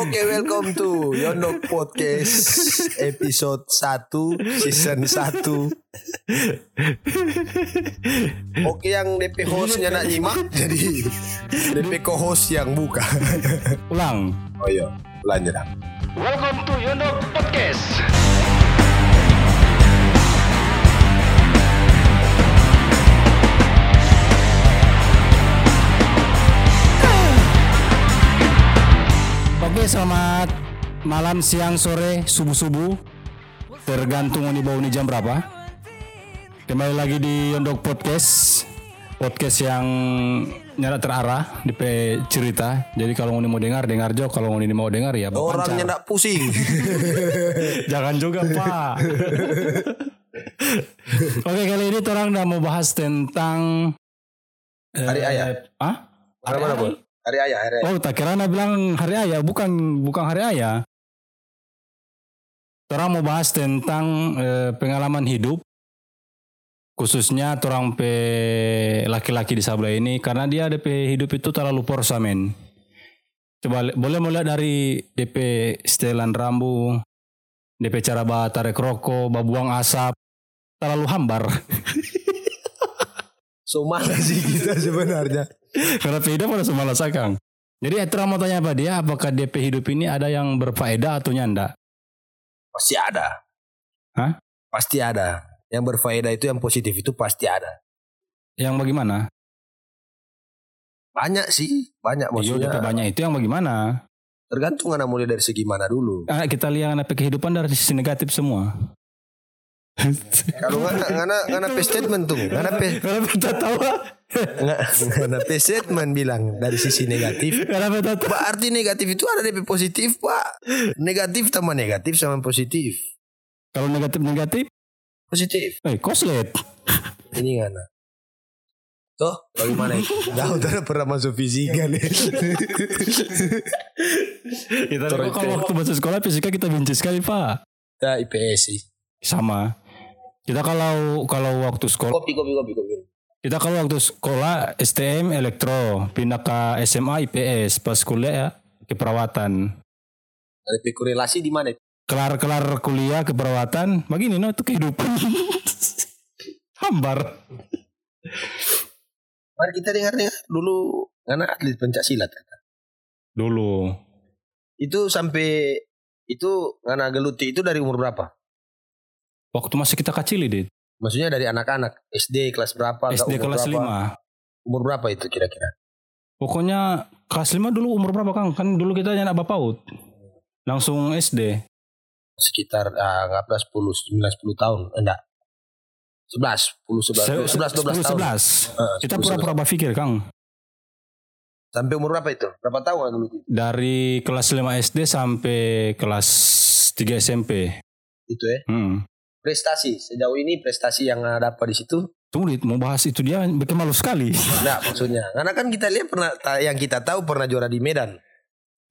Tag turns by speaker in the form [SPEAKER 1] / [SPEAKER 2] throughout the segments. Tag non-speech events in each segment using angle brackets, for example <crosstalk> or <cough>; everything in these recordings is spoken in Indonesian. [SPEAKER 1] Oke, <laughs> welcome to Yonok Podcast episode 1 season 1. Oke, yang DP hostnya nak nyimak jadi DP co-host yang buka.
[SPEAKER 2] Ulang.
[SPEAKER 1] Oh iya, lanjut Ang.
[SPEAKER 3] Welcome to Yonok Podcast.
[SPEAKER 2] Oke, selamat malam, siang, sore, subuh-subuh. Tergantung ini bau ini jam berapa. Kembali lagi di Yondok Podcast. Podcast yang nyara terarah di P- cerita. Jadi kalau ini mau dengar, dengar jo. Kalau ini mau dengar ya
[SPEAKER 1] Orangnya
[SPEAKER 2] bapancar.
[SPEAKER 1] nak pusing.
[SPEAKER 2] <laughs> Jangan juga,
[SPEAKER 1] <laughs>
[SPEAKER 2] Pak. Oke, kali ini orang udah mau bahas tentang eh,
[SPEAKER 1] Hari ayah.
[SPEAKER 2] Hah?
[SPEAKER 1] Hari mana, Bol? Hari ayah, hari ayah.
[SPEAKER 2] Oh, tak kira anda bilang hari ayah, bukan bukan hari ayah. Orang mau bahas tentang eh, pengalaman hidup, khususnya orang pe laki-laki di sebelah ini, karena dia DP hidup itu terlalu porsa men. Coba li- boleh mulai dari DP setelan rambu, DP cara ba tarik rokok, ba buang asap, terlalu hambar. <laughs>
[SPEAKER 1] <laughs> Sumah sih kita sebenarnya.
[SPEAKER 2] Karena hidup pada semalas sakang. Jadi Etra mau tanya apa dia, apakah DP hidup ini ada yang berfaedah atau nyanda?
[SPEAKER 1] Pasti ada.
[SPEAKER 2] Hah?
[SPEAKER 1] Pasti ada. Yang berfaedah itu yang positif itu pasti ada.
[SPEAKER 2] Yang bagaimana?
[SPEAKER 1] Banyak sih, banyak
[SPEAKER 2] Iya, DP
[SPEAKER 1] maksudnya.
[SPEAKER 2] banyak itu yang bagaimana?
[SPEAKER 1] Tergantung anak mulai dari segi mana dulu.
[SPEAKER 2] Ah, kita lihat anak kehidupan dari sisi negatif semua.
[SPEAKER 1] Kalau nggak ngana ngana pe statement tuh, ngana pe
[SPEAKER 2] Kalau kita tawa,
[SPEAKER 1] nggak- ngana pe statement bilang dari sisi negatif.
[SPEAKER 2] kalau kita tawa.
[SPEAKER 1] Berarti negatif itu ada DP positif pak. Negatif tambah negatif sama positif.
[SPEAKER 2] Kalau negatif negatif,
[SPEAKER 1] Positif.
[SPEAKER 2] eh koslet.
[SPEAKER 1] Ini ngana. Toh bagaimana? Jauh udah pernah masuk ya. fisika nih.
[SPEAKER 2] Kita
[SPEAKER 1] Terus-
[SPEAKER 2] kalau waktu masuk sekolah fisika kita benci sekali pak.
[SPEAKER 1] Kita IPS sih.
[SPEAKER 2] Sama. Kita kalau kalau waktu sekolah,
[SPEAKER 1] Kopi kopi kopi kopi.
[SPEAKER 2] kita kalau waktu sekolah STM elektro, pindah ke SMA IPS, pas kuliah ya keperawatan.
[SPEAKER 1] Ada korelasi di mana?
[SPEAKER 2] Kelar-kelar kuliah keperawatan, begini no itu kehidupan. <laughs> Hambar.
[SPEAKER 1] Mari kita dengar dengar dulu. Ngana atlet pencak silat.
[SPEAKER 2] Dulu
[SPEAKER 1] Itu sampai itu ngana geluti itu dari umur berapa?
[SPEAKER 2] Waktu masih kita kecil dit
[SPEAKER 1] Maksudnya dari anak-anak SD kelas berapa? atau
[SPEAKER 2] SD
[SPEAKER 1] umur
[SPEAKER 2] kelas
[SPEAKER 1] berapa?
[SPEAKER 2] 5
[SPEAKER 1] Umur berapa itu kira-kira?
[SPEAKER 2] Pokoknya kelas 5 dulu umur berapa Kang? Kan dulu kita anak bapaut Langsung SD
[SPEAKER 1] Sekitar ah, nggak pernah 10, 9, 10 tahun. Enggak. 11, 10, 11, 11 12 tahun.
[SPEAKER 2] 11
[SPEAKER 1] Eh,
[SPEAKER 2] Kita
[SPEAKER 1] 10,
[SPEAKER 2] pura-pura berpikir Kang
[SPEAKER 1] 11. Sampai umur berapa itu? Berapa tahun nggak geluti?
[SPEAKER 2] Dari kelas 5 SD sampai kelas 3 SMP
[SPEAKER 1] Itu ya.
[SPEAKER 2] hmm.
[SPEAKER 1] Prestasi sejauh ini prestasi yang Ngana dapat di situ.
[SPEAKER 2] Tunggu dit, mau bahas itu dia bikin malu sekali <laughs>
[SPEAKER 1] Enggak maksudnya. Karena kan kita lihat pernah ta- yang kita tahu pernah juara di Medan.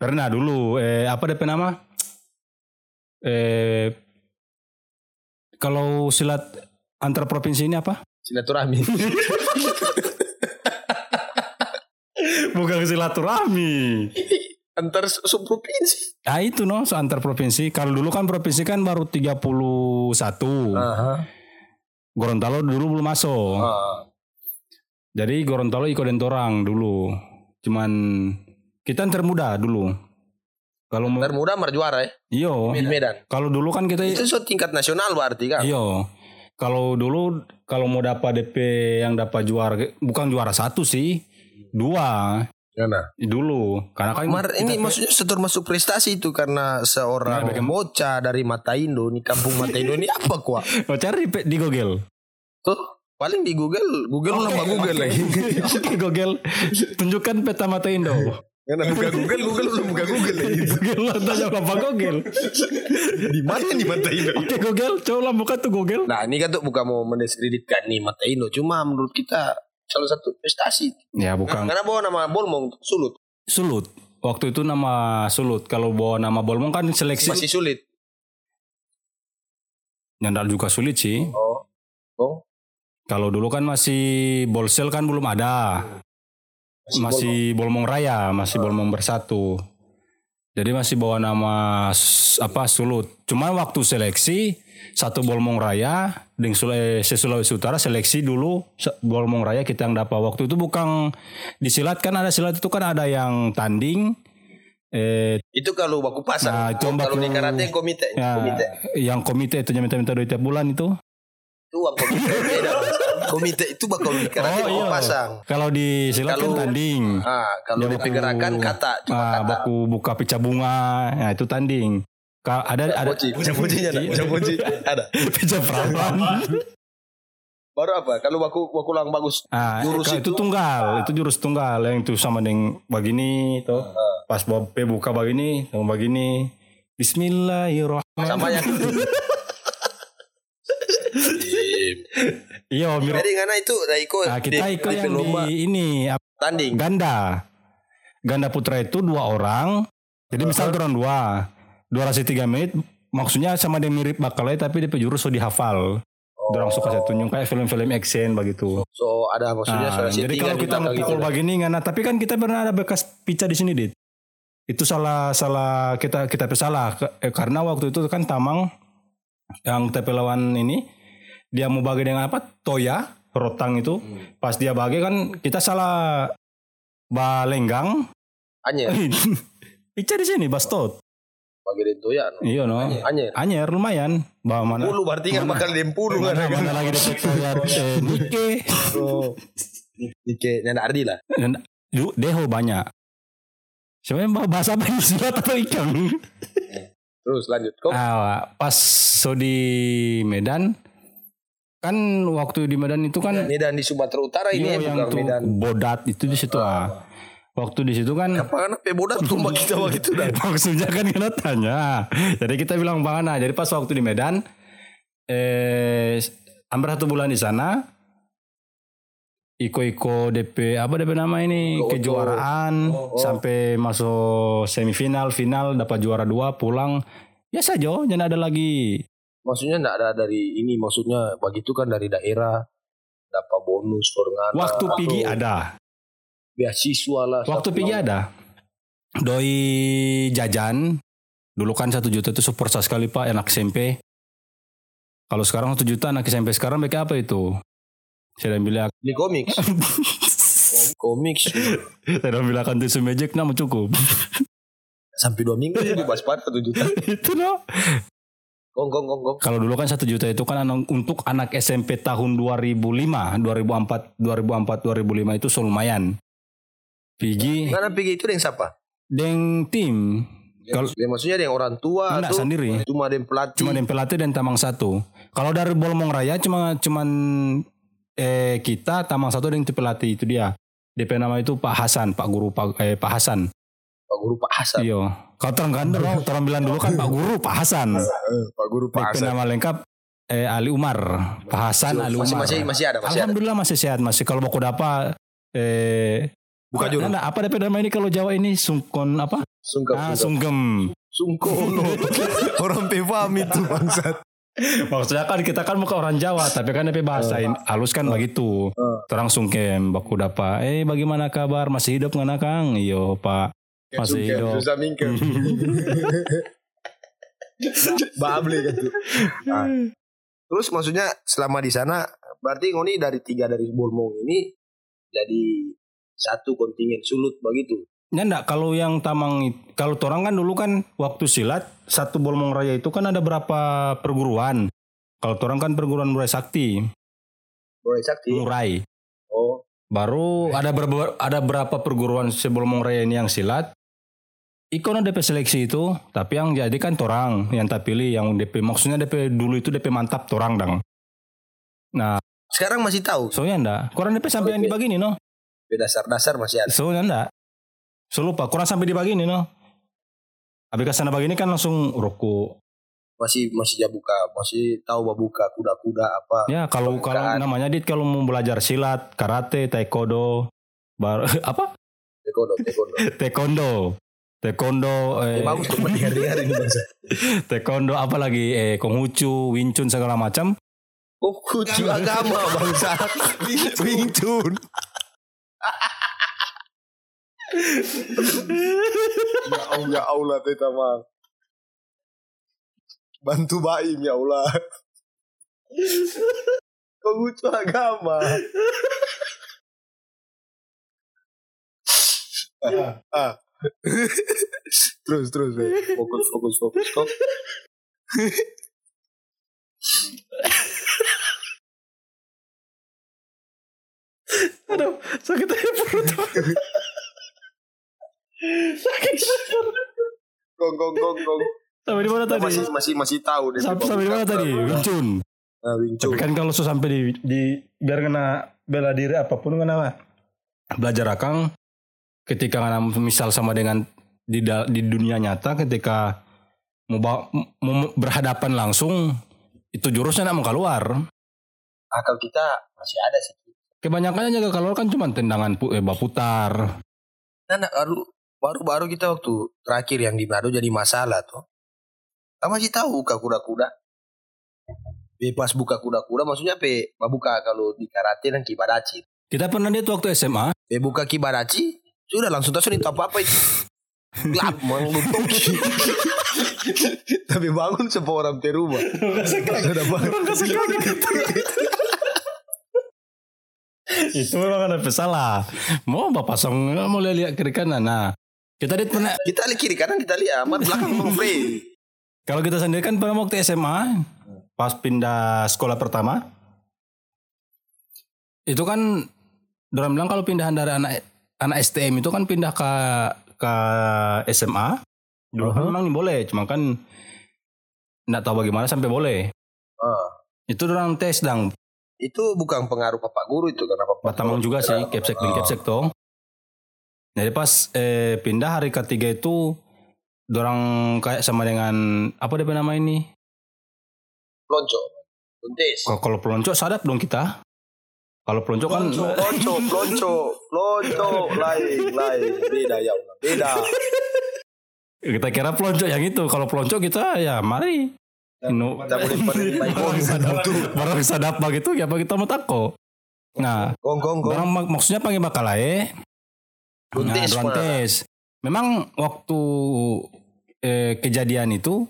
[SPEAKER 2] Pernah dulu eh, Apa DP nama? Eh, kalau silat antar provinsi ini apa?
[SPEAKER 1] Silaturahmi. <laughs>
[SPEAKER 2] Bukan silaturahmi.
[SPEAKER 1] Antar sub provinsi.
[SPEAKER 2] Nah itu no, so, antar provinsi. Kalau dulu kan provinsi kan baru 31.
[SPEAKER 1] Aha.
[SPEAKER 2] Gorontalo dulu belum masuk.
[SPEAKER 1] Ah.
[SPEAKER 2] Jadi Gorontalo ikut orang dulu. Cuman kita yang termuda dulu. Kalau mau
[SPEAKER 1] Termuda merjuara ya
[SPEAKER 2] iyo,
[SPEAKER 1] di Medan.
[SPEAKER 2] kalau dulu kan kita
[SPEAKER 1] Itu so tingkat nasional berarti kan?
[SPEAKER 2] iyo. Kalau dulu kalau mau dapat DP yang dapat juara bukan juara satu sih, dua
[SPEAKER 1] Ngana.
[SPEAKER 2] dulu. Karena kan <laughs>
[SPEAKER 1] Mar,
[SPEAKER 2] kita-
[SPEAKER 1] ini maksudnya termasuk prestasi itu karena seorang
[SPEAKER 2] Nah, bagaimana-
[SPEAKER 1] bocah dari Mataindo nih kampung Mataindo ini apa kuah?
[SPEAKER 2] Oh, cari di, di Google.
[SPEAKER 1] Tuh paling di Google, Google
[SPEAKER 2] Oke,
[SPEAKER 1] Oh, nambah Google
[SPEAKER 2] oke. <laughs>
[SPEAKER 1] lagi.
[SPEAKER 2] Oke, Google. Tunjukkan peta mata Indo. Iya,
[SPEAKER 1] Karena buka Google, Google udah buka Google lagi.
[SPEAKER 2] Google tanya apa Google?
[SPEAKER 1] Di mana nih Mataindo?
[SPEAKER 2] Oke Google, coba lah buka tuh Google.
[SPEAKER 1] Nah ini kan tuh bukan mau mendiskreditkan nih Mataindo, cuma menurut kita salah satu prestasi.
[SPEAKER 2] Ya bukan
[SPEAKER 1] Karena bawa nama Bolmong sulit,
[SPEAKER 2] Sulut. Waktu itu nama Sulut. Kalau bawa nama Bolmong kan seleksi
[SPEAKER 1] masih sulit.
[SPEAKER 2] nyandal juga sulit sih.
[SPEAKER 1] Oh, oh
[SPEAKER 2] Kalau dulu kan masih Bolsel kan belum
[SPEAKER 1] Ah.
[SPEAKER 2] ada. Masih Bolmong Raya, masih Bolmong Bersatu. Jadi masih bawa nama s- apa Sulut. Cuman waktu seleksi satu Bolmong Raya dengan Sula- eh, se- Sulawesi Utara seleksi dulu se- Bolmong Raya kita yang dapat waktu itu bukan di silat kan ada silat itu kan ada yang tanding eh
[SPEAKER 1] Itu kalau baku pasar.
[SPEAKER 2] Nah, itu
[SPEAKER 1] kalau
[SPEAKER 2] baku-
[SPEAKER 1] di karate komite,
[SPEAKER 2] ya,
[SPEAKER 1] komite.
[SPEAKER 2] yang komite itu yang minta-minta duit tiap bulan itu.
[SPEAKER 1] Itu baku komite.
[SPEAKER 2] <laughs>
[SPEAKER 1] beda. komite itu bakal di
[SPEAKER 2] Oh,
[SPEAKER 1] karate
[SPEAKER 2] iya.
[SPEAKER 1] baku pasang.
[SPEAKER 2] Kalau di silat kan
[SPEAKER 1] Kalau-
[SPEAKER 2] tanding.
[SPEAKER 1] Ah, kalau
[SPEAKER 2] Dia
[SPEAKER 1] di pergerakan
[SPEAKER 2] baku-
[SPEAKER 1] kata cuma
[SPEAKER 2] Ah,
[SPEAKER 1] kata.
[SPEAKER 2] baku buka pica bunga, nah, itu tanding. Ka- ada ada
[SPEAKER 1] Poci, puja pujinya ada,
[SPEAKER 2] <laughs>
[SPEAKER 1] puja puji ada.
[SPEAKER 2] pica perawan.
[SPEAKER 1] Baru apa? Kalau baku baku lang bagus.
[SPEAKER 2] Ah,
[SPEAKER 1] Jurus
[SPEAKER 2] ka- itu,
[SPEAKER 1] itu-
[SPEAKER 2] tunggal, itu jurus tunggal yang itu sama dengan
[SPEAKER 1] Ah.
[SPEAKER 2] begini itu. Pas Bob P buka begini, sama begini. Bismillahirrahmanirrahim.
[SPEAKER 1] Sama
[SPEAKER 2] <laughs>
[SPEAKER 1] yang
[SPEAKER 2] Iya, Om.
[SPEAKER 1] Jadi karena itu Raiko
[SPEAKER 2] Nah, Ah, kita ikut yang
[SPEAKER 1] lomba
[SPEAKER 2] di ini
[SPEAKER 1] tanding.
[SPEAKER 2] ganda ganda putra itu dua orang jadi misal turun dua durasi tiga menit maksudnya sama dia mirip bakalai tapi dia jurus sudah dihafal Dorang suka saya tunjuk kayak film-film action begitu.
[SPEAKER 1] So ada Oh, maksudnya
[SPEAKER 2] Nah,
[SPEAKER 1] suara
[SPEAKER 2] Ah,
[SPEAKER 1] kan
[SPEAKER 2] jadi kalau kita mau
[SPEAKER 1] gitu
[SPEAKER 2] pukul
[SPEAKER 1] ya?
[SPEAKER 2] begini ngana, tapi kan kita pernah ada bekas pica di sini, Dit. Itu salah salah kita kita salah Ke- eh, karena waktu itu kan Tamang yang TP lawan ini dia mau bagi dengan apa? Toya, rotang itu. Pas dia bagi kan kita salah balenggang. <laughs>
[SPEAKER 1] Anyer,
[SPEAKER 2] pica di sini, Bastot.
[SPEAKER 1] bagi itu ya. no.
[SPEAKER 2] Iya no.
[SPEAKER 1] Anyer.
[SPEAKER 2] Anyer lumayan. Bah mana?
[SPEAKER 1] Puluh berarti kan bakal di puluh kan.
[SPEAKER 2] Mana,
[SPEAKER 1] <laughs>
[SPEAKER 2] mana lagi dapat Toya <laughs> eh, Nike
[SPEAKER 1] Oh. Nike Nanda Ardi lah.
[SPEAKER 2] dan du- deho banyak. Sebenarnya bah- bahasa apa ini silat atau ikan?
[SPEAKER 1] Terus lanjut. Kok
[SPEAKER 2] Ah, pas so di Medan kan waktu di Medan itu kan
[SPEAKER 1] Medan di Sumatera Utara ini
[SPEAKER 2] iya,
[SPEAKER 1] yang
[SPEAKER 2] yang
[SPEAKER 1] bukan
[SPEAKER 2] tuh
[SPEAKER 1] Medan.
[SPEAKER 2] bodat itu di situ ah. Waktu di situ kan
[SPEAKER 1] Apa kan apa bodoh tumbak kita waktu itu dah.
[SPEAKER 2] <laughs> maksudnya kan kena tanya. Jadi kita bilang Bang Ana, jadi pas waktu di Medan eh hampir satu bulan di sana Iko-iko DP apa DP nama ini
[SPEAKER 1] Iko-iko.
[SPEAKER 2] kejuaraan sampai masuk semifinal final dapat juara dua pulang ya saja jangan ada lagi
[SPEAKER 1] Maksudnya enggak ada dari ini maksudnya begitu kan dari daerah dapat bonus sorangan.
[SPEAKER 2] waktu
[SPEAKER 1] atau
[SPEAKER 2] pigi ada
[SPEAKER 1] Beasiswa lah.
[SPEAKER 2] waktu
[SPEAKER 1] satu
[SPEAKER 2] pigi
[SPEAKER 1] tahun.
[SPEAKER 2] ada doi jajan dulu kan satu juta itu super sekali pak anak SMP kalau sekarang satu juta anak SMP sekarang mereka apa itu saya dan bilang <laughs>
[SPEAKER 1] Beli komik. Komik
[SPEAKER 2] saya dan bilang kan tisu magic namun cukup <laughs>
[SPEAKER 1] sampai dua minggu jadi pas pas satu juta.
[SPEAKER 2] itu no
[SPEAKER 1] Gong gong gong gong.
[SPEAKER 2] Kalau dulu kan satu juta itu kan anak- untuk anak SMP tahun 2005, 2004, 2004, 2005 itu so lumayan. Pigi,
[SPEAKER 1] Karena pergi itu dengan siapa?
[SPEAKER 2] deng tim. Kalau
[SPEAKER 1] Ya, maksudnya dengan orang tua
[SPEAKER 2] enggak
[SPEAKER 1] atau
[SPEAKER 2] sendiri,
[SPEAKER 1] cuma dengan pelatih.
[SPEAKER 2] cuma deng pelatih dan tamang satu. Kalau dari Bolmong Raya cuma cuman eh kita tamang satu dan tim pelatih itu dia. DP nama itu Pak Hasan, Pak Guru Pak eh, Pak Hasan.
[SPEAKER 1] Pak Guru Pak Hasan.
[SPEAKER 2] Iya. Kalau terang kan orang orang bilang dulu kan Pak Guru Pak Hasan.
[SPEAKER 1] Eh, Pak Guru
[SPEAKER 2] DP nama lengkap eh, Ali Umar, Pak Hasan Ali
[SPEAKER 1] Masih
[SPEAKER 2] Umar.
[SPEAKER 1] masih masih ada masih ada.
[SPEAKER 2] Alhamdulillah masih sehat masih kalau mau dapa eh
[SPEAKER 1] Buka
[SPEAKER 2] nah,
[SPEAKER 1] juru.
[SPEAKER 2] nah, apa DP nama ini kalau Jawa ini sungkon apa?
[SPEAKER 1] Sungkep
[SPEAKER 2] ah,
[SPEAKER 1] sungkep.
[SPEAKER 2] sunggem.
[SPEAKER 1] Sungkono.
[SPEAKER 2] <laughs>
[SPEAKER 1] Orang paham itu bangsat.
[SPEAKER 2] Maksudnya kan kita kan bukan orang Jawa tapi kan DP bahasa ini halus kan begitu. Terang sungkem baku dapa. Eh bagaimana kabar? Masih hidup nggak Kang? Iyo, Pak. Masih
[SPEAKER 1] Sungkem,
[SPEAKER 2] hidup. Hmm.
[SPEAKER 1] Susah mingkem. <laughs> Bable gitu. Nah, Terus maksudnya selama di sana berarti ngoni dari tiga dari Bolmong ini jadi satu kontingen sulut begitu.
[SPEAKER 2] Ya enggak, kalau yang tamang it- kalau torang kan dulu kan waktu silat satu bolmong raya itu kan ada berapa perguruan. Kalau torang kan perguruan murai sakti,
[SPEAKER 1] Boleh sakti.
[SPEAKER 2] murai.
[SPEAKER 1] Oh,
[SPEAKER 2] Baru ada berapa ada berapa perguruan sebelum Mongrel ini yang silat. Ikon DP seleksi itu, tapi yang jadi kan torang yang tak pilih yang DP maksudnya DP dulu itu DP mantap torang dang. Nah,
[SPEAKER 1] sekarang masih tahu
[SPEAKER 2] soalnya ndak. Kurang DP sampai yang dibagi nih no.
[SPEAKER 1] dasar-dasar masih ada.
[SPEAKER 2] Soalnya ndak. So lupa, kurang sampai dibagi nih no. Habis ke sana begini kan langsung rokok.
[SPEAKER 1] Masih masih jabuka, masih tahu babuka kuda-kuda apa.
[SPEAKER 2] Ya kalau kalau
[SPEAKER 1] Pembukaan.
[SPEAKER 2] namanya dit kalau mau belajar silat, karate, taekwondo, bar, <laughs> apa?
[SPEAKER 1] Taekwondo, taekwondo.
[SPEAKER 2] Eh. Taekwondo. Taekwondo
[SPEAKER 1] Ya,
[SPEAKER 2] eh,
[SPEAKER 1] bagus tuh dengar ini bangsa.
[SPEAKER 2] taekwondo apalagi eh konghucu, Wing Chun segala macam.
[SPEAKER 1] Oh, kucu agama
[SPEAKER 2] <laughs>
[SPEAKER 1] bangsa. Wing Chun. ya Allah ya Allah teh tamang. Bantu Baim ya Allah. Pengucu agama. ah,
[SPEAKER 2] Ya.
[SPEAKER 1] ah. terus terus deh. Fokus fokus fokus kok.
[SPEAKER 4] Aduh, sakit aja
[SPEAKER 1] <laughs>
[SPEAKER 4] perut. sakit perut.
[SPEAKER 1] Gong gong gong gong.
[SPEAKER 4] Sampai di mana tadi?
[SPEAKER 1] Masih masih masih tahu deh.
[SPEAKER 2] Sampai, sampai di mana tadi? Wincun.
[SPEAKER 1] Nah, Wing Chun.
[SPEAKER 2] Tapi kan kalau susah sampai di, di biar kena bela diri apapun kena belajar akang ketika ngana misal sama dengan di da- di dunia nyata ketika mau, ba- mau berhadapan langsung itu jurusnya nak mau keluar.
[SPEAKER 1] Akal Ah, kita masih ada sih.
[SPEAKER 2] Kebanyakannya jaga keluar kan cuma tendangan pu, eh, putar.
[SPEAKER 1] Nah, nah, baru baru baru kita waktu terakhir yang di Manado jadi masalah tuh. Kamu masih tahu buka kuda-kuda? Bebas buka kuda-kuda maksudnya pe buka kalau di karate dan kibarachi.
[SPEAKER 2] Kita pernah dia tuh waktu SMA,
[SPEAKER 1] Pe buka kibarachi sudah langsung tahu sudah apa apa itu. Gelap mang lu. Tapi bangun semua orang di rumah. Sudah bangun.
[SPEAKER 2] itu memang ada pesalah. Mau bapak pasang mau lihat kiri kanan. Nah, kita dit pernah
[SPEAKER 1] Kita lihat kiri kanan kita lihat aman belakang bang Frey. <laughs>
[SPEAKER 2] Kalau kita sendiri kan pernah waktu SMA, pas pindah sekolah pertama, itu kan dalam bilang kalau pindahan dari anak anak STM itu kan pindah ke ke SMA. Dulu kan
[SPEAKER 4] Aha.
[SPEAKER 2] memang boleh, cuma kan nggak tahu bagaimana sampai boleh.
[SPEAKER 1] Ah,
[SPEAKER 2] Itu orang tes dang
[SPEAKER 1] itu bukan pengaruh bapak guru itu karena bapak
[SPEAKER 2] Batamang juga sih, kepsek dan kepsek tuh. Jadi pas eh, pindah hari ketiga itu dorang kayak sama dengan apa dia nama ini?
[SPEAKER 1] Lonco. Buntis.
[SPEAKER 2] Kalau kalau peloncok sadap dong kita. Kalau peloncok kan
[SPEAKER 1] Lonco, lonco, lonco, lain, lain, beda ya Allah, beda.
[SPEAKER 2] kita kira peloncok yang itu. Kalau peloncok kita ya mari. No.
[SPEAKER 1] Kita
[SPEAKER 2] <laughs>
[SPEAKER 1] boleh panen baik
[SPEAKER 2] Barang sadap, barang sadap apa gitu ya apa kita mau tako. Nah,
[SPEAKER 1] Gong, gong, gong.
[SPEAKER 2] barang mak- maksudnya panggil bakalae. Nah,
[SPEAKER 1] Buntis,
[SPEAKER 2] drone
[SPEAKER 1] Pak.
[SPEAKER 2] test. Memang waktu eh, kejadian itu,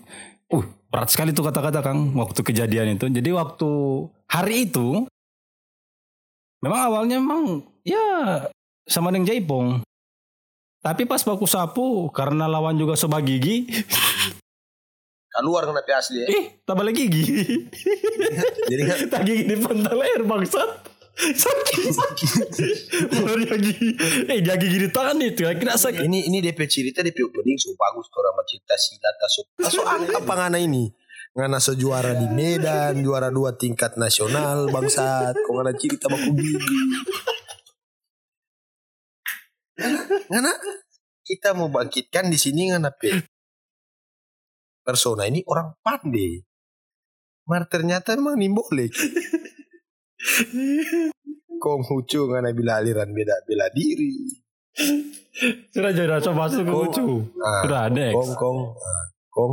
[SPEAKER 2] uh berat sekali tuh kata-kata Kang waktu kejadian itu. Jadi waktu hari itu, memang awalnya memang ya sama dengan Jaipong. Tapi pas baku sapu karena lawan juga sobat gigi, <laughs>
[SPEAKER 1] Keluar kena pi asli ya.
[SPEAKER 2] eh tambah lagi gigi.
[SPEAKER 1] Jadi kan
[SPEAKER 2] Tak gigi di pantai leher bangsat. Sakit. Baru dia gigi. Eh dia gigi di tangan itu kira sakit.
[SPEAKER 1] ini ini DP cerita DP opening so bagus tuh orang cerita silat so so angka pangana ini ngana sejuara di Medan juara dua tingkat nasional bangsat kok ngana cerita baku gigi ngana kita mau bangkitkan di sini ngana pe persona ini orang pandai Mar ternyata emang nimbolek Kong hucu ngana bila aliran beda bela diri
[SPEAKER 2] Sudah jadi rasa masuk ke
[SPEAKER 1] Oh.
[SPEAKER 2] lucu.
[SPEAKER 1] Ah.
[SPEAKER 2] Sudah next.
[SPEAKER 1] Kong Kong Ah, Kong.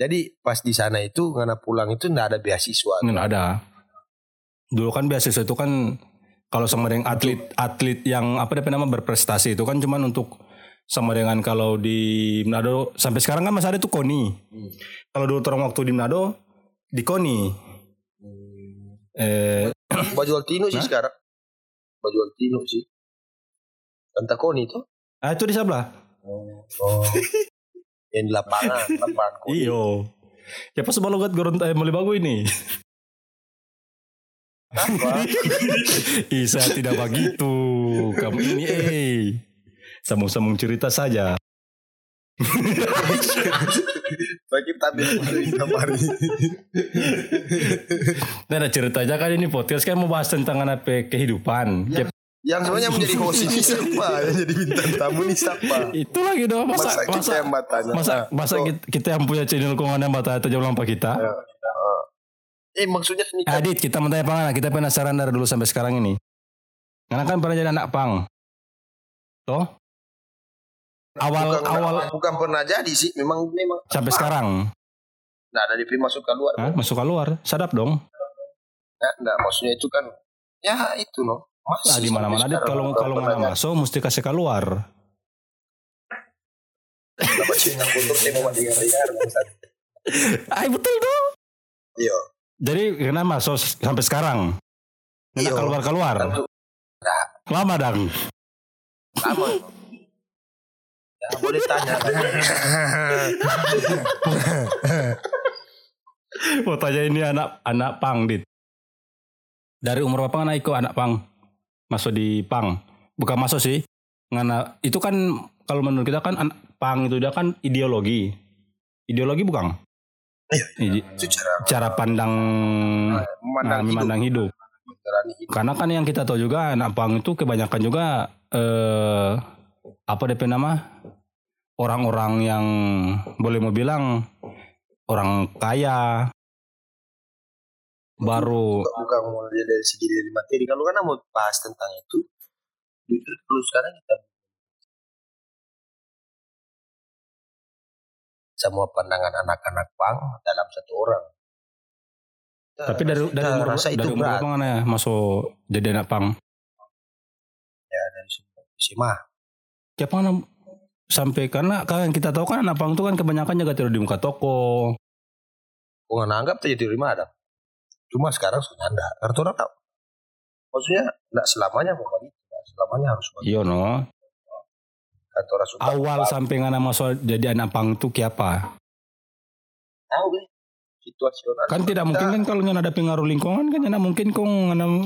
[SPEAKER 1] Jadi pas di sana itu karena pulang itu nggak ada beasiswa.
[SPEAKER 2] Nggak ada. Dulu kan beasiswa itu kan kalau sama dengan atlet atlet yang apa dia nama berprestasi itu kan cuman untuk sama dengan kalau di Manado sampai sekarang kan masih ada tuh Koni. Kalau dulu orang waktu di Manado di Koni. Eh,
[SPEAKER 1] Baju Altino sih sekarang. Baju Altino sih. Tante Koni itu.
[SPEAKER 2] ah itu di sebelah.
[SPEAKER 1] Oh. <laughs> Yang di lapangan, lapangan Koni.
[SPEAKER 2] Iyo. Ya pas balogat Gorontalo eh, Malibago ini.
[SPEAKER 1] Apa?
[SPEAKER 2] Ih, saya tidak begitu. Kamu ini, eh. Sambung-sambung cerita saja.
[SPEAKER 1] Sakit
[SPEAKER 2] <laughs>
[SPEAKER 1] tampil kemarin kemarin.
[SPEAKER 2] Nah, ada cerita aja kan ini podcast kan mau bahas tentang apa kehidupan. Ya,
[SPEAKER 1] Yang sebenarnya menjadi host ini siapa? Yang jadi bintang tamu ini siapa?
[SPEAKER 2] itu lagi dong masa
[SPEAKER 1] Masa kita
[SPEAKER 2] masa
[SPEAKER 1] yang matanya.
[SPEAKER 2] masa,
[SPEAKER 1] Ah,
[SPEAKER 2] masa
[SPEAKER 1] kok-
[SPEAKER 2] kita, kita yang punya channel kemana mata tajam lampa kita.
[SPEAKER 1] Eh maksudnya ini kan
[SPEAKER 2] Adit, kita mau tanya pangan, kita penasaran dari dulu sampai sekarang ini. Karena kan pernah jadi anak pang. Toh? Awal
[SPEAKER 1] bukan,
[SPEAKER 2] awal
[SPEAKER 1] bukan pernah jadi sih. Memang memang
[SPEAKER 2] sampai sekarang.
[SPEAKER 1] nggak ada DP masuk keluar.
[SPEAKER 2] Hah? Masuk keluar, sadap dong.
[SPEAKER 1] Nah, nah, maksudnya itu kan ya itu loh.
[SPEAKER 2] Nah,
[SPEAKER 1] Masih
[SPEAKER 2] di mana-mana
[SPEAKER 1] sampai
[SPEAKER 2] Adit
[SPEAKER 1] sekarang
[SPEAKER 2] kalau
[SPEAKER 1] orang
[SPEAKER 2] kalau
[SPEAKER 1] bertanya,
[SPEAKER 2] mana masuk mesti kasih keluar.
[SPEAKER 1] Dapat sih yang kotor saya mau mandi gara-gara. bangsat.
[SPEAKER 2] Ay, betul tuh.
[SPEAKER 1] Iya.
[SPEAKER 2] Jadi kenapa so, sampai sekarang?
[SPEAKER 1] Iya.
[SPEAKER 2] Nggak keluar-keluar.
[SPEAKER 1] Tentu.
[SPEAKER 2] Lama dang.
[SPEAKER 1] Lama. Ya, boleh tanya.
[SPEAKER 2] <laughs> Mau tanya ini anak anak pang dit. Dari umur berapa anak Iko anak pang? Masuk di pang. Bukan masuk sih. Ngana, itu kan kalau menurut kita kan anak pang itu dia kan ideologi. Ideologi bukan?
[SPEAKER 1] Iya.
[SPEAKER 2] Ide-
[SPEAKER 1] Itu cara
[SPEAKER 2] Cara pandang
[SPEAKER 1] eh,
[SPEAKER 2] Hmm. nah,
[SPEAKER 1] memandang hidup.
[SPEAKER 2] memandang hidup.
[SPEAKER 1] Menjalani hidup.
[SPEAKER 2] Karena kan yang kita tahu juga anak pang itu kebanyakan juga eh apa DP nama orang-orang yang boleh mau bilang orang kaya baru
[SPEAKER 1] Bukan- Bukan mulai dari segi dari materi. Kalau kan mau bahas tentang itu, justru perlu sekarang kita semua pandangan anak-anak pang dalam satu orang. Kita-
[SPEAKER 2] tapi dari dari
[SPEAKER 1] kita
[SPEAKER 2] umur
[SPEAKER 1] rasa itu
[SPEAKER 2] dari umur
[SPEAKER 1] berat.
[SPEAKER 2] berapa kan ya masuk jadi anak pang
[SPEAKER 1] ya dari semua SMA.
[SPEAKER 2] tiap mana sampai karena kan yang kita tahu kan anak pang itu kan kebanyakan jaga tidur di muka toko
[SPEAKER 1] Gue nggak nanggap tuh jadi lima ada. Cuma sekarang sudah anda. Karena orang tahu. Maksudnya nggak selamanya mau begitu. Nggak selamanya harus begitu.
[SPEAKER 2] iya no
[SPEAKER 1] Kantor suka
[SPEAKER 2] awal sampai ngana masuk jadi anak pang itu kiapa
[SPEAKER 1] tahu deh. Situasional.
[SPEAKER 2] kan tidak
[SPEAKER 1] Kita-
[SPEAKER 2] mungkin kan kalau ngana ada pengaruh lingkungan kan tidak mungkin kong ngana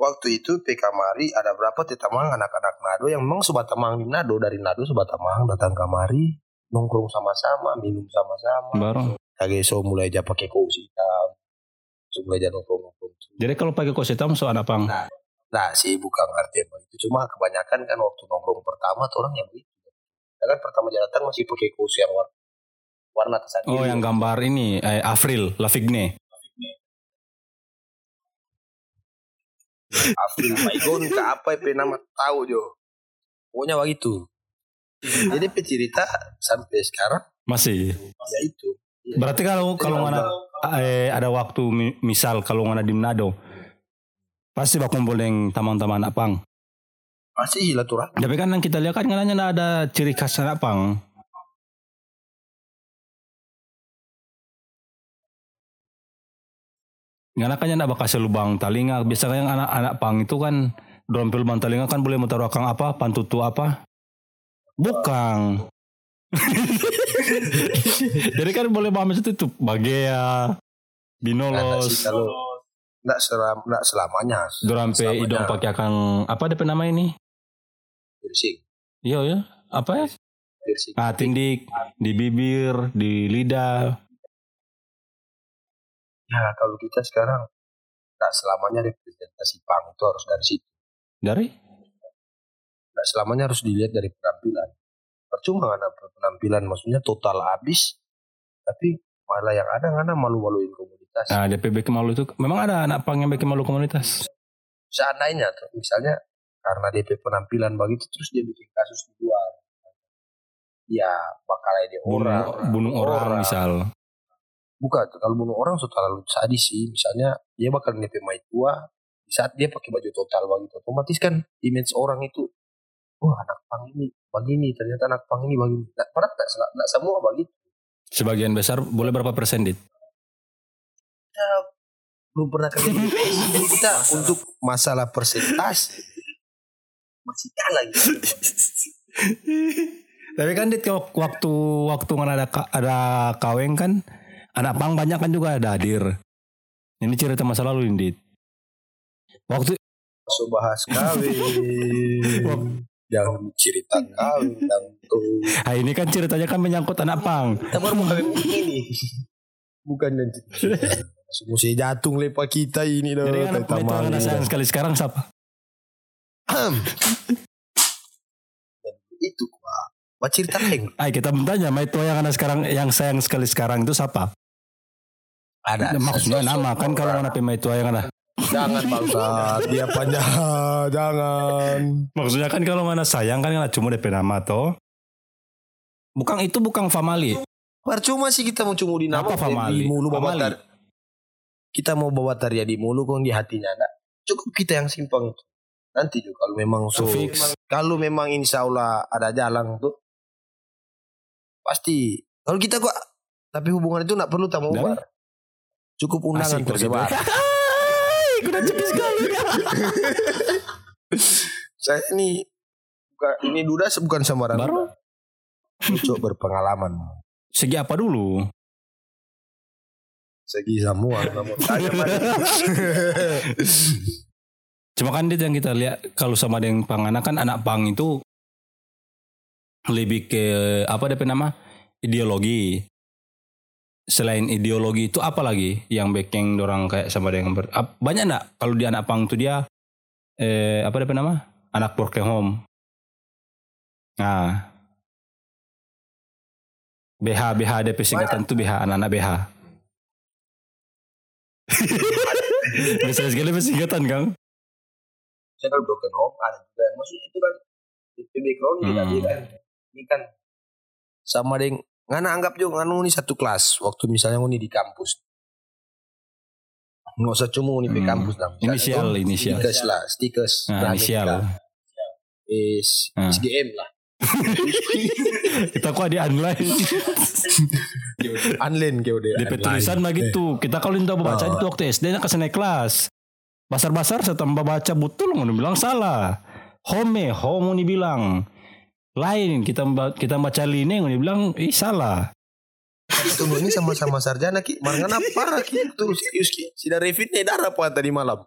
[SPEAKER 1] waktu itu PK Mari ada berapa tetamang anak-anak Nado yang memang Subatamang di Nado dari Nado Subatamang datang kamari nongkrong sama-sama minum sama-sama
[SPEAKER 2] bareng
[SPEAKER 1] kage so mulai aja pakai kursi hitam so mulai aja nongkrong nongkrong
[SPEAKER 2] Jadi kalau pakai kaos hitam so anak pang.
[SPEAKER 1] nah sih bukan ngerti emang itu cuma kebanyakan kan waktu nongkrong pertama tuh orang yang begitu Kita kan pertama aja datang masih pakai kursi yang warna warna atas
[SPEAKER 2] Oh yang gambar ini eh, Avril Lavigne.
[SPEAKER 1] Afil Maigon ke apa pe nama ya? tahu jo pokoknya begitu jadi pecerita sampai sekarang
[SPEAKER 2] Masih.
[SPEAKER 1] ya itu
[SPEAKER 2] Berarti kalau kalau ngana eh, ada waktu mi- misal kalau ngana di Manado pasti bak kumpul dengan taman-taman anak pang.
[SPEAKER 1] masih silaturahmi
[SPEAKER 2] Tapi kan yang kita lihat kan ngananya nggak ada ciri khas anak pang. Ngana kan nggak bakal lubang talinga. Biasanya yang anak-anak pang itu kan dompet lubang talinga kan boleh mutar akang apa, pantutu apa. Bukan. <laughs> Jadi kan boleh paham itu tuh bagea, binolos,
[SPEAKER 1] kalau nggak selam nggak selamanya
[SPEAKER 2] dorampe
[SPEAKER 1] Selamanya.
[SPEAKER 2] idong pakai akang apa ada nama ini?
[SPEAKER 1] piercing
[SPEAKER 2] Iya ya, apa ya?
[SPEAKER 1] piercing
[SPEAKER 2] Ah, tindik di bibir, di lidah.
[SPEAKER 1] ya kalau kita sekarang nggak selamanya representasi pang itu harus dari situ
[SPEAKER 2] Dari?
[SPEAKER 1] nggak selamanya harus dilihat dari penampilan percuma ada penampilan maksudnya total habis tapi malah yang ada karena malu-maluin komunitas
[SPEAKER 2] Nah, DPB Kemalu itu memang ada anak pang yang bagi malu komunitas.
[SPEAKER 1] seandainya tuh misalnya karena DP penampilan begitu terus dia bikin kasus di luar ya bakal ada
[SPEAKER 2] Bunuh
[SPEAKER 1] orang
[SPEAKER 2] bunuh orang, misal.
[SPEAKER 1] bukan kalau bunuh orang sudah terlalu sadis sih misalnya dia bakal DP mayat tua di saat dia pakai baju total begitu otomatis kan image orang itu wah anak pang ini begini ternyata anak pang ini begini nah, padahal nggak sel- nggak semua begitu
[SPEAKER 2] Sebagian besar boleh berapa persen dit?
[SPEAKER 1] kita belum pernah kerja di DPS jadi kita untuk masalah persentase masih kalah gitu
[SPEAKER 2] <laughs> Tapi kan dit kalau waktu waktu kan ada ka- ada kaweng kan anak pang banyak kan juga ada hadir. Ini cerita masa lalu ini, dit. Waktu
[SPEAKER 1] so bahas
[SPEAKER 2] Iya.
[SPEAKER 1] kawin jangan cerita kawin dan tuh
[SPEAKER 2] ah, ini kan ceritanya kan menyangkut anak pang.
[SPEAKER 1] kita baru mau kawin ini bukan nanti semua si jatung lepa kita ini loh
[SPEAKER 2] Jadi kan, anak
[SPEAKER 1] kata
[SPEAKER 2] pang itu
[SPEAKER 1] Mami.
[SPEAKER 2] anak sayang sekali sekarang siapa?
[SPEAKER 1] itu pak Pak cerita lain
[SPEAKER 2] Ay, kita bertanya, Mai Tua yang anak sekarang yang sayang sekali sekarang itu siapa?
[SPEAKER 1] ada
[SPEAKER 2] Nah, Ya, Maksudnya
[SPEAKER 1] sosok
[SPEAKER 2] nama kan kalau anak pemain Tua yang anak.
[SPEAKER 1] jangan bangsa dia panjang <laughs> jangan
[SPEAKER 2] Maksudnya kan kalau anak sayang kan anak cuma DP nama toh. Bukan itu bukan famali.
[SPEAKER 1] percuma sih kita mau cuma di nama
[SPEAKER 2] Apa famali?
[SPEAKER 1] di mulu bawa
[SPEAKER 2] Famali.
[SPEAKER 1] tar- kita mau bawa tarian di mulu kong di hatinya ada cukup kita yang simpang itu nanti juga kalau memang so
[SPEAKER 2] Fix.
[SPEAKER 1] kalau memang insya Allah ada jalan tuh Pasti. Kalau kita kok tapi hubungan itu nggak perlu tamu
[SPEAKER 2] Dan?
[SPEAKER 1] ubar. Cukup undangan gitu.
[SPEAKER 2] Asik kok
[SPEAKER 1] tersebar.
[SPEAKER 2] <laughs>
[SPEAKER 4] Hai, kuda cepis sekali.
[SPEAKER 1] Saya ini buka- ini duda bukan samaran.
[SPEAKER 2] Baru?
[SPEAKER 1] duda. Cocok berpengalaman.
[SPEAKER 2] Segi apa dulu?
[SPEAKER 1] Segi semua namun
[SPEAKER 2] <laughs>
[SPEAKER 1] tanya
[SPEAKER 2] Cuma kan dia yang kita lihat kalau sama dengan Pangana kan anak Pang itu lebih ke apa ada nama ideologi. Selain ideologi itu apa lagi yang backing orang kayak sama dengan ber- ap- banyak enggak kalau di anak Pang itu dia eh, apa ada nama anak work from home. Nah. BH BH ada singkatan tuh BH anak-anak BH. Biasanya sekali singkatan Kang.
[SPEAKER 1] Channel broken home ada juga yang maksudnya itu kan di background kita
[SPEAKER 2] Hmm.
[SPEAKER 1] dia kan ini kan sama deng ngana anggap jo nganu ini satu kelas waktu misalnya ini di kampus nggak usah cuma ini di
[SPEAKER 2] Hmm.
[SPEAKER 1] kampus lah
[SPEAKER 2] Inisial, inisial.
[SPEAKER 1] stikers lah stikers
[SPEAKER 2] Nah, inisial.
[SPEAKER 1] is
[SPEAKER 2] Ah.
[SPEAKER 1] SGM
[SPEAKER 2] <laughs>
[SPEAKER 1] lah
[SPEAKER 2] Kita kok ada
[SPEAKER 1] <laughs>
[SPEAKER 2] online.
[SPEAKER 1] unline kayak udah
[SPEAKER 2] DP tulisan mah gitu. Kita kalau minta baca
[SPEAKER 1] Oh.
[SPEAKER 2] itu waktu SD nya kasih naik kelas. Basar-basar saya tambah baca betul ngono bilang salah. Home, homo nih bilang. Lain kita mba- kita baca line ngono bilang ih salah.
[SPEAKER 1] itu ini sama-sama sarjana ki marngana parah ki terus Gitu, serius ki si dari fitnya darah apa tadi malam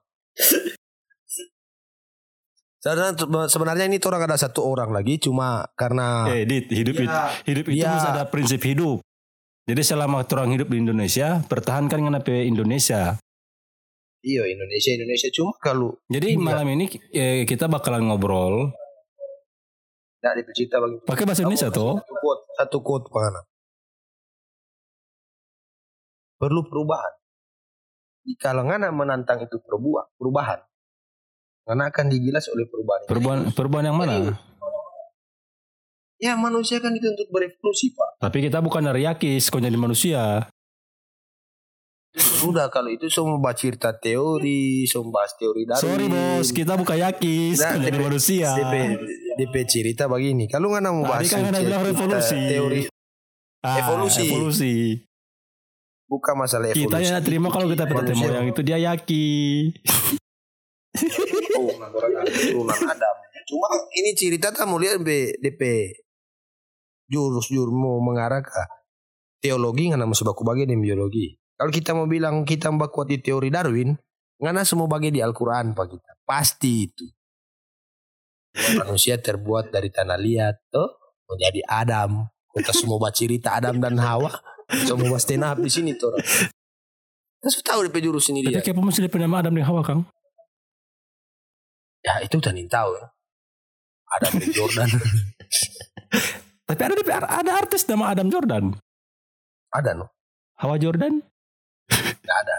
[SPEAKER 1] sarjana tu- sebenarnya ini orang ada satu orang lagi cuma karena
[SPEAKER 2] Eh, Dit, hidup itu hidup itu
[SPEAKER 1] Ah. Ya.
[SPEAKER 2] harus ada prinsip hidup. Jadi selama orang hidup di Indonesia, pertahankan kenapa Indonesia.
[SPEAKER 1] iya Indonesia Indonesia cuma kalau
[SPEAKER 2] Jadi
[SPEAKER 1] Iya.
[SPEAKER 2] malam ini eh, kita bakalan ngobrol
[SPEAKER 1] tidak dipercita bagi
[SPEAKER 2] pakai bahasa Indonesia toh.
[SPEAKER 1] satu quote satu quote pengana perlu perubahan jika lengan menantang itu perubahan perubahan karena akan digilas oleh perubahan ini.
[SPEAKER 2] Perubahan perubahan yang mana?
[SPEAKER 1] ya manusia kan dituntut berevolusi pak
[SPEAKER 2] Tapi kita bukan riakis, kau jadi manusia.
[SPEAKER 1] Udah kalau itu semua bahas cerita teori, semua bahas teori dari.
[SPEAKER 2] Sorry bos, kita bukan yakis,
[SPEAKER 1] Nah,
[SPEAKER 2] kau jadi
[SPEAKER 1] DP,
[SPEAKER 2] manusia.
[SPEAKER 1] DP, DP cerita begini. Kalau nggak mau
[SPEAKER 2] Tadi
[SPEAKER 1] bahas
[SPEAKER 2] kan ada
[SPEAKER 1] cerita
[SPEAKER 2] bilang revolusi.
[SPEAKER 1] teori,
[SPEAKER 2] Ah,
[SPEAKER 1] Evolusi.
[SPEAKER 2] evolusi.
[SPEAKER 1] bukan masalah evolusi.
[SPEAKER 2] Kita yang terima kalau kita
[SPEAKER 1] Manusia.
[SPEAKER 2] bertemu yang itu dia yaki.
[SPEAKER 1] Oh, nggak kurang ada turunan Adam. Cuma ini cerita kamu lihat be DP jurus jurus mau mengarah ke teologi nggak nama sebaku bagian di biologi. Kalau kita mau bilang kita mbak kuat di teori Darwin, nggak semua bagian di Al-Quran pak kita. Pasti itu. Manusia terbuat dari tanah liat, tuh menjadi Adam. Kita semua baca cerita Adam dan Hawa. Semua bahas tenah di sini tuh. orang. Kita sudah tahu DP jurus ini
[SPEAKER 2] Tapi
[SPEAKER 1] dia.
[SPEAKER 2] kayak masih ada nama Adam dan Hawa Kang.
[SPEAKER 1] Ya itu udah nintau ya. Ada
[SPEAKER 2] <laughs>
[SPEAKER 1] Michael Jordan.
[SPEAKER 2] Tapi ada DP ada artis nama Adam Jordan.
[SPEAKER 1] ada no.
[SPEAKER 2] Hawa Jordan?
[SPEAKER 1] <laughs> Nggak ada.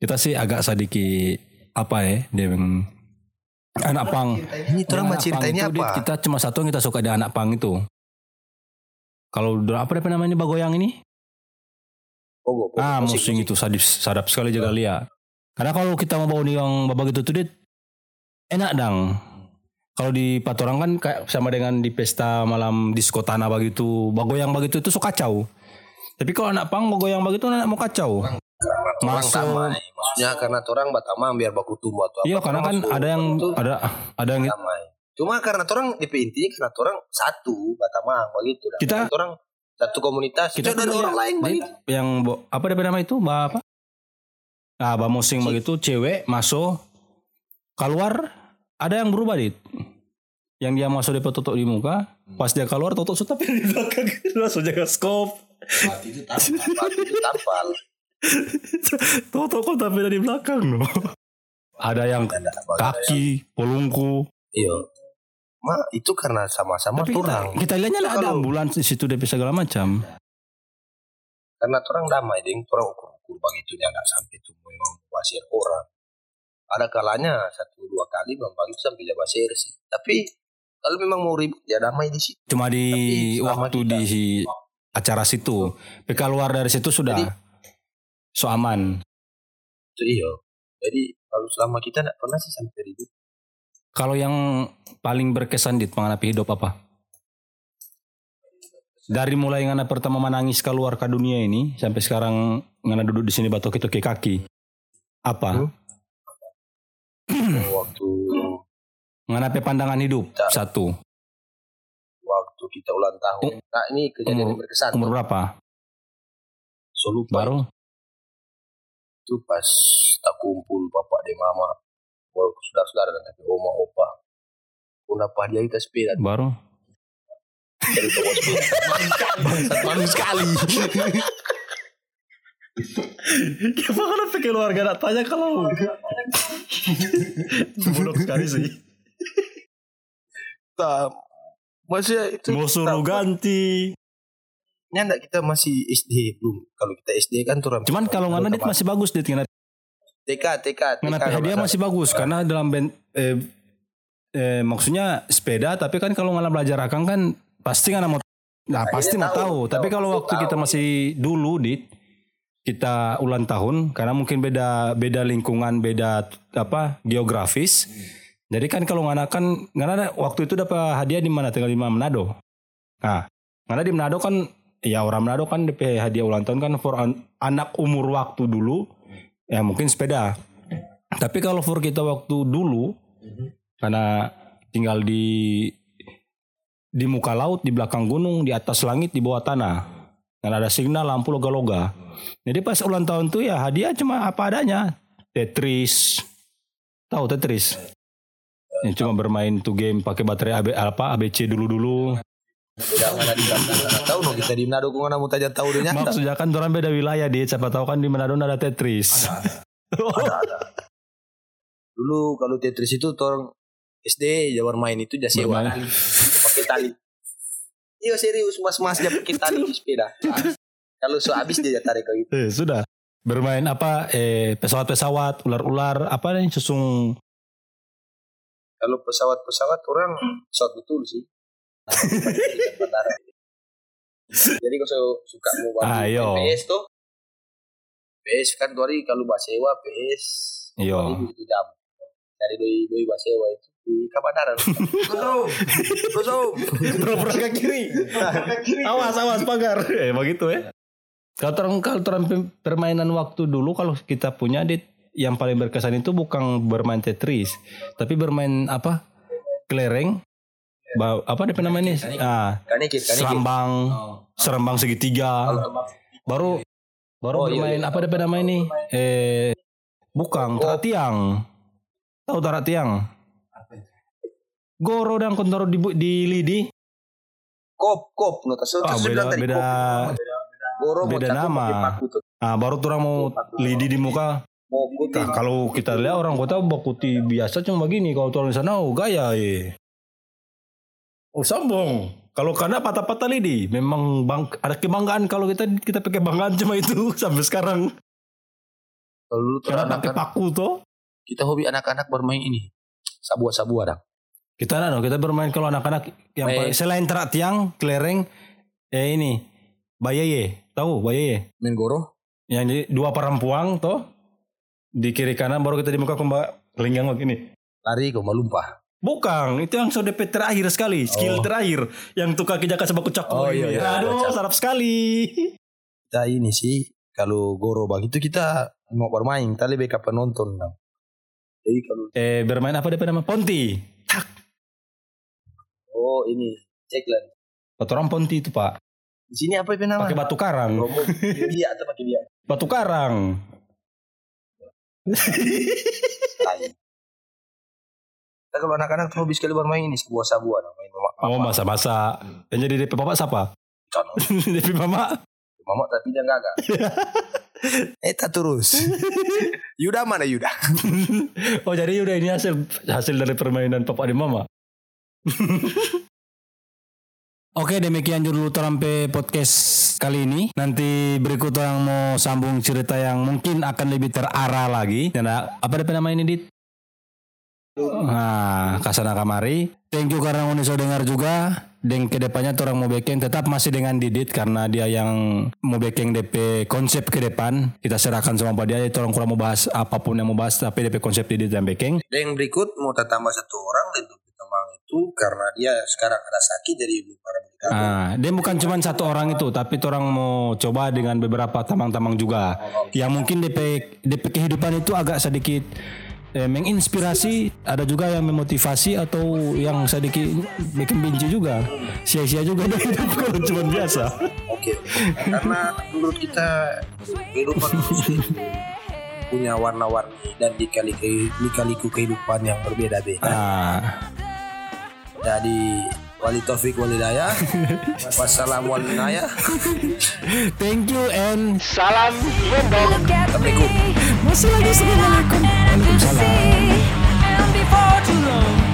[SPEAKER 2] Kita sih agak sedikit apa ya, dia yang anak pang.
[SPEAKER 1] Ini orang
[SPEAKER 2] Yang
[SPEAKER 1] mau
[SPEAKER 2] anak
[SPEAKER 1] cerita
[SPEAKER 2] pang
[SPEAKER 1] ini
[SPEAKER 2] itu, Dit,
[SPEAKER 1] apa?
[SPEAKER 2] Kita cuma satu yang kita suka dari anak pang itu. Kalau apa DP namanya Bagoyang ini?
[SPEAKER 1] Pogo, pogo,
[SPEAKER 2] Ah,
[SPEAKER 1] musik,
[SPEAKER 2] musuh
[SPEAKER 1] musik.
[SPEAKER 2] itu sadis, sadap sekali jaga lia. Karena kalau kita mau bawa yang babak itu tuh Dit, enak dang. Kalau di Patorang kan kayak sama dengan di pesta malam disko tanah begitu, bagoyang begitu itu suka kacau. Tapi kalau anak pang bagoyang begitu anak mau kacau.
[SPEAKER 1] Karena orang
[SPEAKER 2] Masuk.
[SPEAKER 1] tamai. Maksudnya karena orang batama biar baku tumbuh atau apa.
[SPEAKER 2] Iya, karena kan
[SPEAKER 1] Masuk.
[SPEAKER 2] ada yang
[SPEAKER 1] Itu
[SPEAKER 2] ada ada yang
[SPEAKER 1] tamai. Cuma karena orang DP intinya karena orang satu batama begitu. Dan
[SPEAKER 2] Kita-
[SPEAKER 1] karena orang satu komunitas. Kita
[SPEAKER 2] kita tuh
[SPEAKER 1] dari
[SPEAKER 2] banyak-
[SPEAKER 1] orang lain
[SPEAKER 2] banyak
[SPEAKER 1] begitu.
[SPEAKER 2] yang bo- apa dia nama itu mbak apa nah mbak mosing begitu cewek masuk keluar ada yang berubah dit yang dia masuk dia tutup di muka
[SPEAKER 1] Hmm.
[SPEAKER 2] pas dia keluar tutup sudah <laughs> di belakang langsung jaga skop
[SPEAKER 1] Mati itu tampal. Mati itu tampal.
[SPEAKER 2] tutup kok tapi dari belakang loh ada yang
[SPEAKER 1] Dan ada apa- gitu ya.
[SPEAKER 2] kaki pelungku
[SPEAKER 1] Iya. Ma, itu karena sama-sama
[SPEAKER 2] tapi kita,
[SPEAKER 1] turang.
[SPEAKER 2] kita lihatnya ada
[SPEAKER 1] Kalau-
[SPEAKER 2] ambulans di situ dia segala macam
[SPEAKER 1] karena orang damai ding orang ukur ukur begitu nya nggak sampai tuh memang basir orang ada kalanya satu dua kali memang begitu sampai dia basir sih tapi kalau memang mau ribut ya damai di situ
[SPEAKER 2] cuma di
[SPEAKER 1] Tapi selama
[SPEAKER 2] waktu
[SPEAKER 1] kita-
[SPEAKER 2] di acara situ tapi keluar dari situ sudah
[SPEAKER 1] Jadi-
[SPEAKER 2] so aman
[SPEAKER 1] itu iya jadi kalau selama kita nggak pernah sih sampai ribut
[SPEAKER 2] Kalau yang paling berkesan di mengenai hidup apa? dari mulai ngana pertama menangis keluar ke dunia ini sampai sekarang ngana duduk di sini batok itu kaki apa
[SPEAKER 1] Hmm.
[SPEAKER 2] Hmm.
[SPEAKER 1] waktu
[SPEAKER 2] ngana pe pandangan hidup
[SPEAKER 1] Tak.
[SPEAKER 2] satu
[SPEAKER 1] waktu kita ulang tahun. Nah ini kejadian yang berkesan.
[SPEAKER 2] umur berapa
[SPEAKER 1] So lupa
[SPEAKER 2] baru
[SPEAKER 1] itu pas tak kumpul bapak dan mama. Baru saudara-saudara dan tapi oma opa. Kuna pahdiah kita sepeda.
[SPEAKER 2] baru
[SPEAKER 1] Jadi toko
[SPEAKER 2] <laughs>
[SPEAKER 1] sepeda.
[SPEAKER 4] Malu sekali. Kenapa kalau pikir keluarga nak tanya kalau bodoh sekali sih.
[SPEAKER 1] Tak. Masih itu.
[SPEAKER 4] Mau suruh ganti.
[SPEAKER 1] Ini anak kita masih SD belum. Kalau kita SD kan turun.
[SPEAKER 2] cuman kalau ngana dia masih bagus dia ngana
[SPEAKER 1] TK TK
[SPEAKER 2] ngana pe hadiah Ya, masih bagus karena dalam ben, eh, eh, maksudnya sepeda tapi kan kalau ngana belajar akang kan pasti ngana mau nah
[SPEAKER 1] Nah,
[SPEAKER 2] pasti
[SPEAKER 1] iya
[SPEAKER 2] mah
[SPEAKER 1] tahu,
[SPEAKER 2] tahu tapi
[SPEAKER 1] tahu,
[SPEAKER 2] kalau waktu
[SPEAKER 1] tahu.
[SPEAKER 2] kita masih dulu dit kita ulang tahun karena mungkin beda beda lingkungan beda apa geografis jadi kan kalau ngana kan ngana ada- waktu itu dapat hadiah di mana tinggal di mana? Manado nah ngana di Manado kan ya orang Manado kan DP hadiah ulang tahun kan for an- anak umur waktu dulu ya mungkin sepeda tapi kalau for kita waktu dulu
[SPEAKER 1] Mhm.
[SPEAKER 2] karena tinggal di di muka laut, di belakang gunung, di atas langit, di bawah tanah. Dan ada signal lampu loga-loga. Jadi pas ulang tahun tuh ya hadiah cuma apa adanya. Tetris. Tahu Tetris? Ya, cuma bermain tuh game pakai baterai AB, apa ABC dulu-dulu.
[SPEAKER 1] Tidak mana di belakang. Tahu no kita di Manado kau mau tanya tahu dia nyata.
[SPEAKER 2] Maksudnya kan orang beda wilayah dia. Siapa tahu kan di Manado ada Tetris. <laughs> Oh,
[SPEAKER 1] Dulu kalau Tetris itu orang SD jaman main itu dia sewa tali.
[SPEAKER 2] Bermain.
[SPEAKER 1] pakai tali. Iya serius mas-mas dia pakai tali di sepeda. Ah, Kalau so habis dia tarik kayak gitu.
[SPEAKER 2] Eh, sudah bermain apa eh pesawat-pesawat, ular-ular, apa nih susung
[SPEAKER 1] Kalau pesawat-pesawat orang
[SPEAKER 2] Hmm.
[SPEAKER 1] pesawat betul
[SPEAKER 2] <laughs>
[SPEAKER 1] sih. Bandara. Jadi kalau suka mau bantu
[SPEAKER 2] Ayo.
[SPEAKER 1] PS tuh. PS kan tuh hari kalau bahasa sewa PS.
[SPEAKER 2] Iya.
[SPEAKER 1] Ini Itu gitu jam. Dari doi doi bahasa sewa itu di
[SPEAKER 2] <laughs>
[SPEAKER 1] kabandaran. Kusum. Kusum.
[SPEAKER 4] Pura-pura ke kiri. Awas awas pagar.
[SPEAKER 2] Eh, begitu ya. Kalau terang kalau terang pe- permainan waktu dulu kalau kita punya di yang paling berkesan itu bukan bermain Tetris, tapi bermain apa? Kelereng. Ba- apa dia namanya? Ah,
[SPEAKER 1] Kanekit, kanekit.
[SPEAKER 2] serambang, serambang segitiga. Baru
[SPEAKER 1] Oh,
[SPEAKER 2] baru
[SPEAKER 1] iya,
[SPEAKER 2] bermain
[SPEAKER 1] iya.
[SPEAKER 2] apa dia namanya ini? Eh,
[SPEAKER 4] Oh.
[SPEAKER 2] bukan tarak tiang. Tahu tarak tiang? Goro dan kontoro di bu- di lidi.
[SPEAKER 1] Kop, kop. No, tas-
[SPEAKER 2] Ah,
[SPEAKER 1] tas-
[SPEAKER 2] beda-
[SPEAKER 1] bilang tadi,
[SPEAKER 2] beda-
[SPEAKER 1] kop. Goro mau
[SPEAKER 2] beda
[SPEAKER 1] cakap
[SPEAKER 2] nama.
[SPEAKER 1] pakai paku tuh.
[SPEAKER 2] Ah, baru orang mau lidi di muka.
[SPEAKER 1] Mau putih.
[SPEAKER 2] Nah, kalau kita lihat orang kota bakuti biasa cuma begini kalau orang di sana oh gaya eh. Oh sombong. Kalau karena patah-patah lidi memang bang, ada kebanggaan kalau kita kita pakai banggaan cuma itu <laughs> sampai sekarang.
[SPEAKER 1] Kalau dulu tuh
[SPEAKER 2] Karena pakai
[SPEAKER 1] anak-anak
[SPEAKER 2] paku toh.
[SPEAKER 1] kita hobi anak-anak bermain ini sabua-sabua dong
[SPEAKER 2] Kita ada kita bermain kalau anak-anak yang
[SPEAKER 1] Baik.
[SPEAKER 2] paling- selain terak tiang, kelereng eh ini bayaye, tahu bayaye?
[SPEAKER 1] main goro
[SPEAKER 2] Yang jadi dua perempuan toh di kiri kanan baru kita di muka kembali linggang begini.
[SPEAKER 1] lari kau melumpah
[SPEAKER 2] Bukan, itu yang DP terakhir sekali, skill
[SPEAKER 1] Oh.
[SPEAKER 2] terakhir yang tukar kejaka sama kucak
[SPEAKER 1] Oh, iya, iya,
[SPEAKER 2] Aduh,
[SPEAKER 1] kocak.
[SPEAKER 2] sarap sekali.
[SPEAKER 1] kita ini sih kalau goro begitu kita mau bermain kita lebih kapan nonton dong jadi kalau
[SPEAKER 2] Eh, bermain apa DP nama Ponti?
[SPEAKER 1] oh ini ceklan
[SPEAKER 2] Kotoran Ponti itu, Pak.
[SPEAKER 1] di sini apa yang nama
[SPEAKER 2] Pakai batu karang.
[SPEAKER 1] Romo, dia atau pakai dia
[SPEAKER 2] Batu karang.
[SPEAKER 1] lain kita kalau anak-anak tuh hobi sekali bermain ini sabua-sabua dong main mamak
[SPEAKER 2] Oh, masa-masa. Yang jadi DP Bapak siapa? <laughs>
[SPEAKER 1] Kan, oh.
[SPEAKER 2] DP Mama.
[SPEAKER 1] mamak tapi dia gagal eh tak terus Yuda mana Yuda
[SPEAKER 2] Oh, jadi udah ini hasil hasil dari permainan Bapak dan Mama. <laughs> Oke demikian dulu Torampe Podcast kali ini Nanti berikut orang mau sambung cerita yang mungkin akan lebih terarah lagi Karena apa ada nama ini Dit? Nah Kasana Kamari Thank you karena udah dengar juga Dan kedepannya orang mau backing tetap masih dengan Didit Karena dia yang mau backing DP konsep ke depan Kita serahkan sama dia Orang kurang mau bahas apapun yang mau bahas Tapi DP konsep Didit dan backing
[SPEAKER 1] Dan yang berikut mau tak tambah satu orang dan untuk teman itu karena dia sekarang ada sakit jadi belum pada
[SPEAKER 2] Ah, dia bukan cuma satu orang itu, tapi orang mau coba dengan beberapa tamang-tamang juga. Yang mungkin DP DP kehidupan itu agak sedikit eh, menginspirasi, ada juga yang memotivasi atau yang sedikit bikin benci juga. Sia-sia juga <laughs> dia hidup kalau cuma biasa.
[SPEAKER 1] Oke. Karena menurut kita kehidupan manusia punya warna-warni dan dikali dikaliku kehidupan yang berbeda-beda.
[SPEAKER 2] Ah,
[SPEAKER 1] Jadi Wali Taufik Walidaya. Wassalamualaikum. ya.
[SPEAKER 2] thank you and
[SPEAKER 3] Salam Yondok.
[SPEAKER 5] Look at me.
[SPEAKER 1] Assalamualaikum.
[SPEAKER 5] What should I do? Waalaikumsalam. And before too long.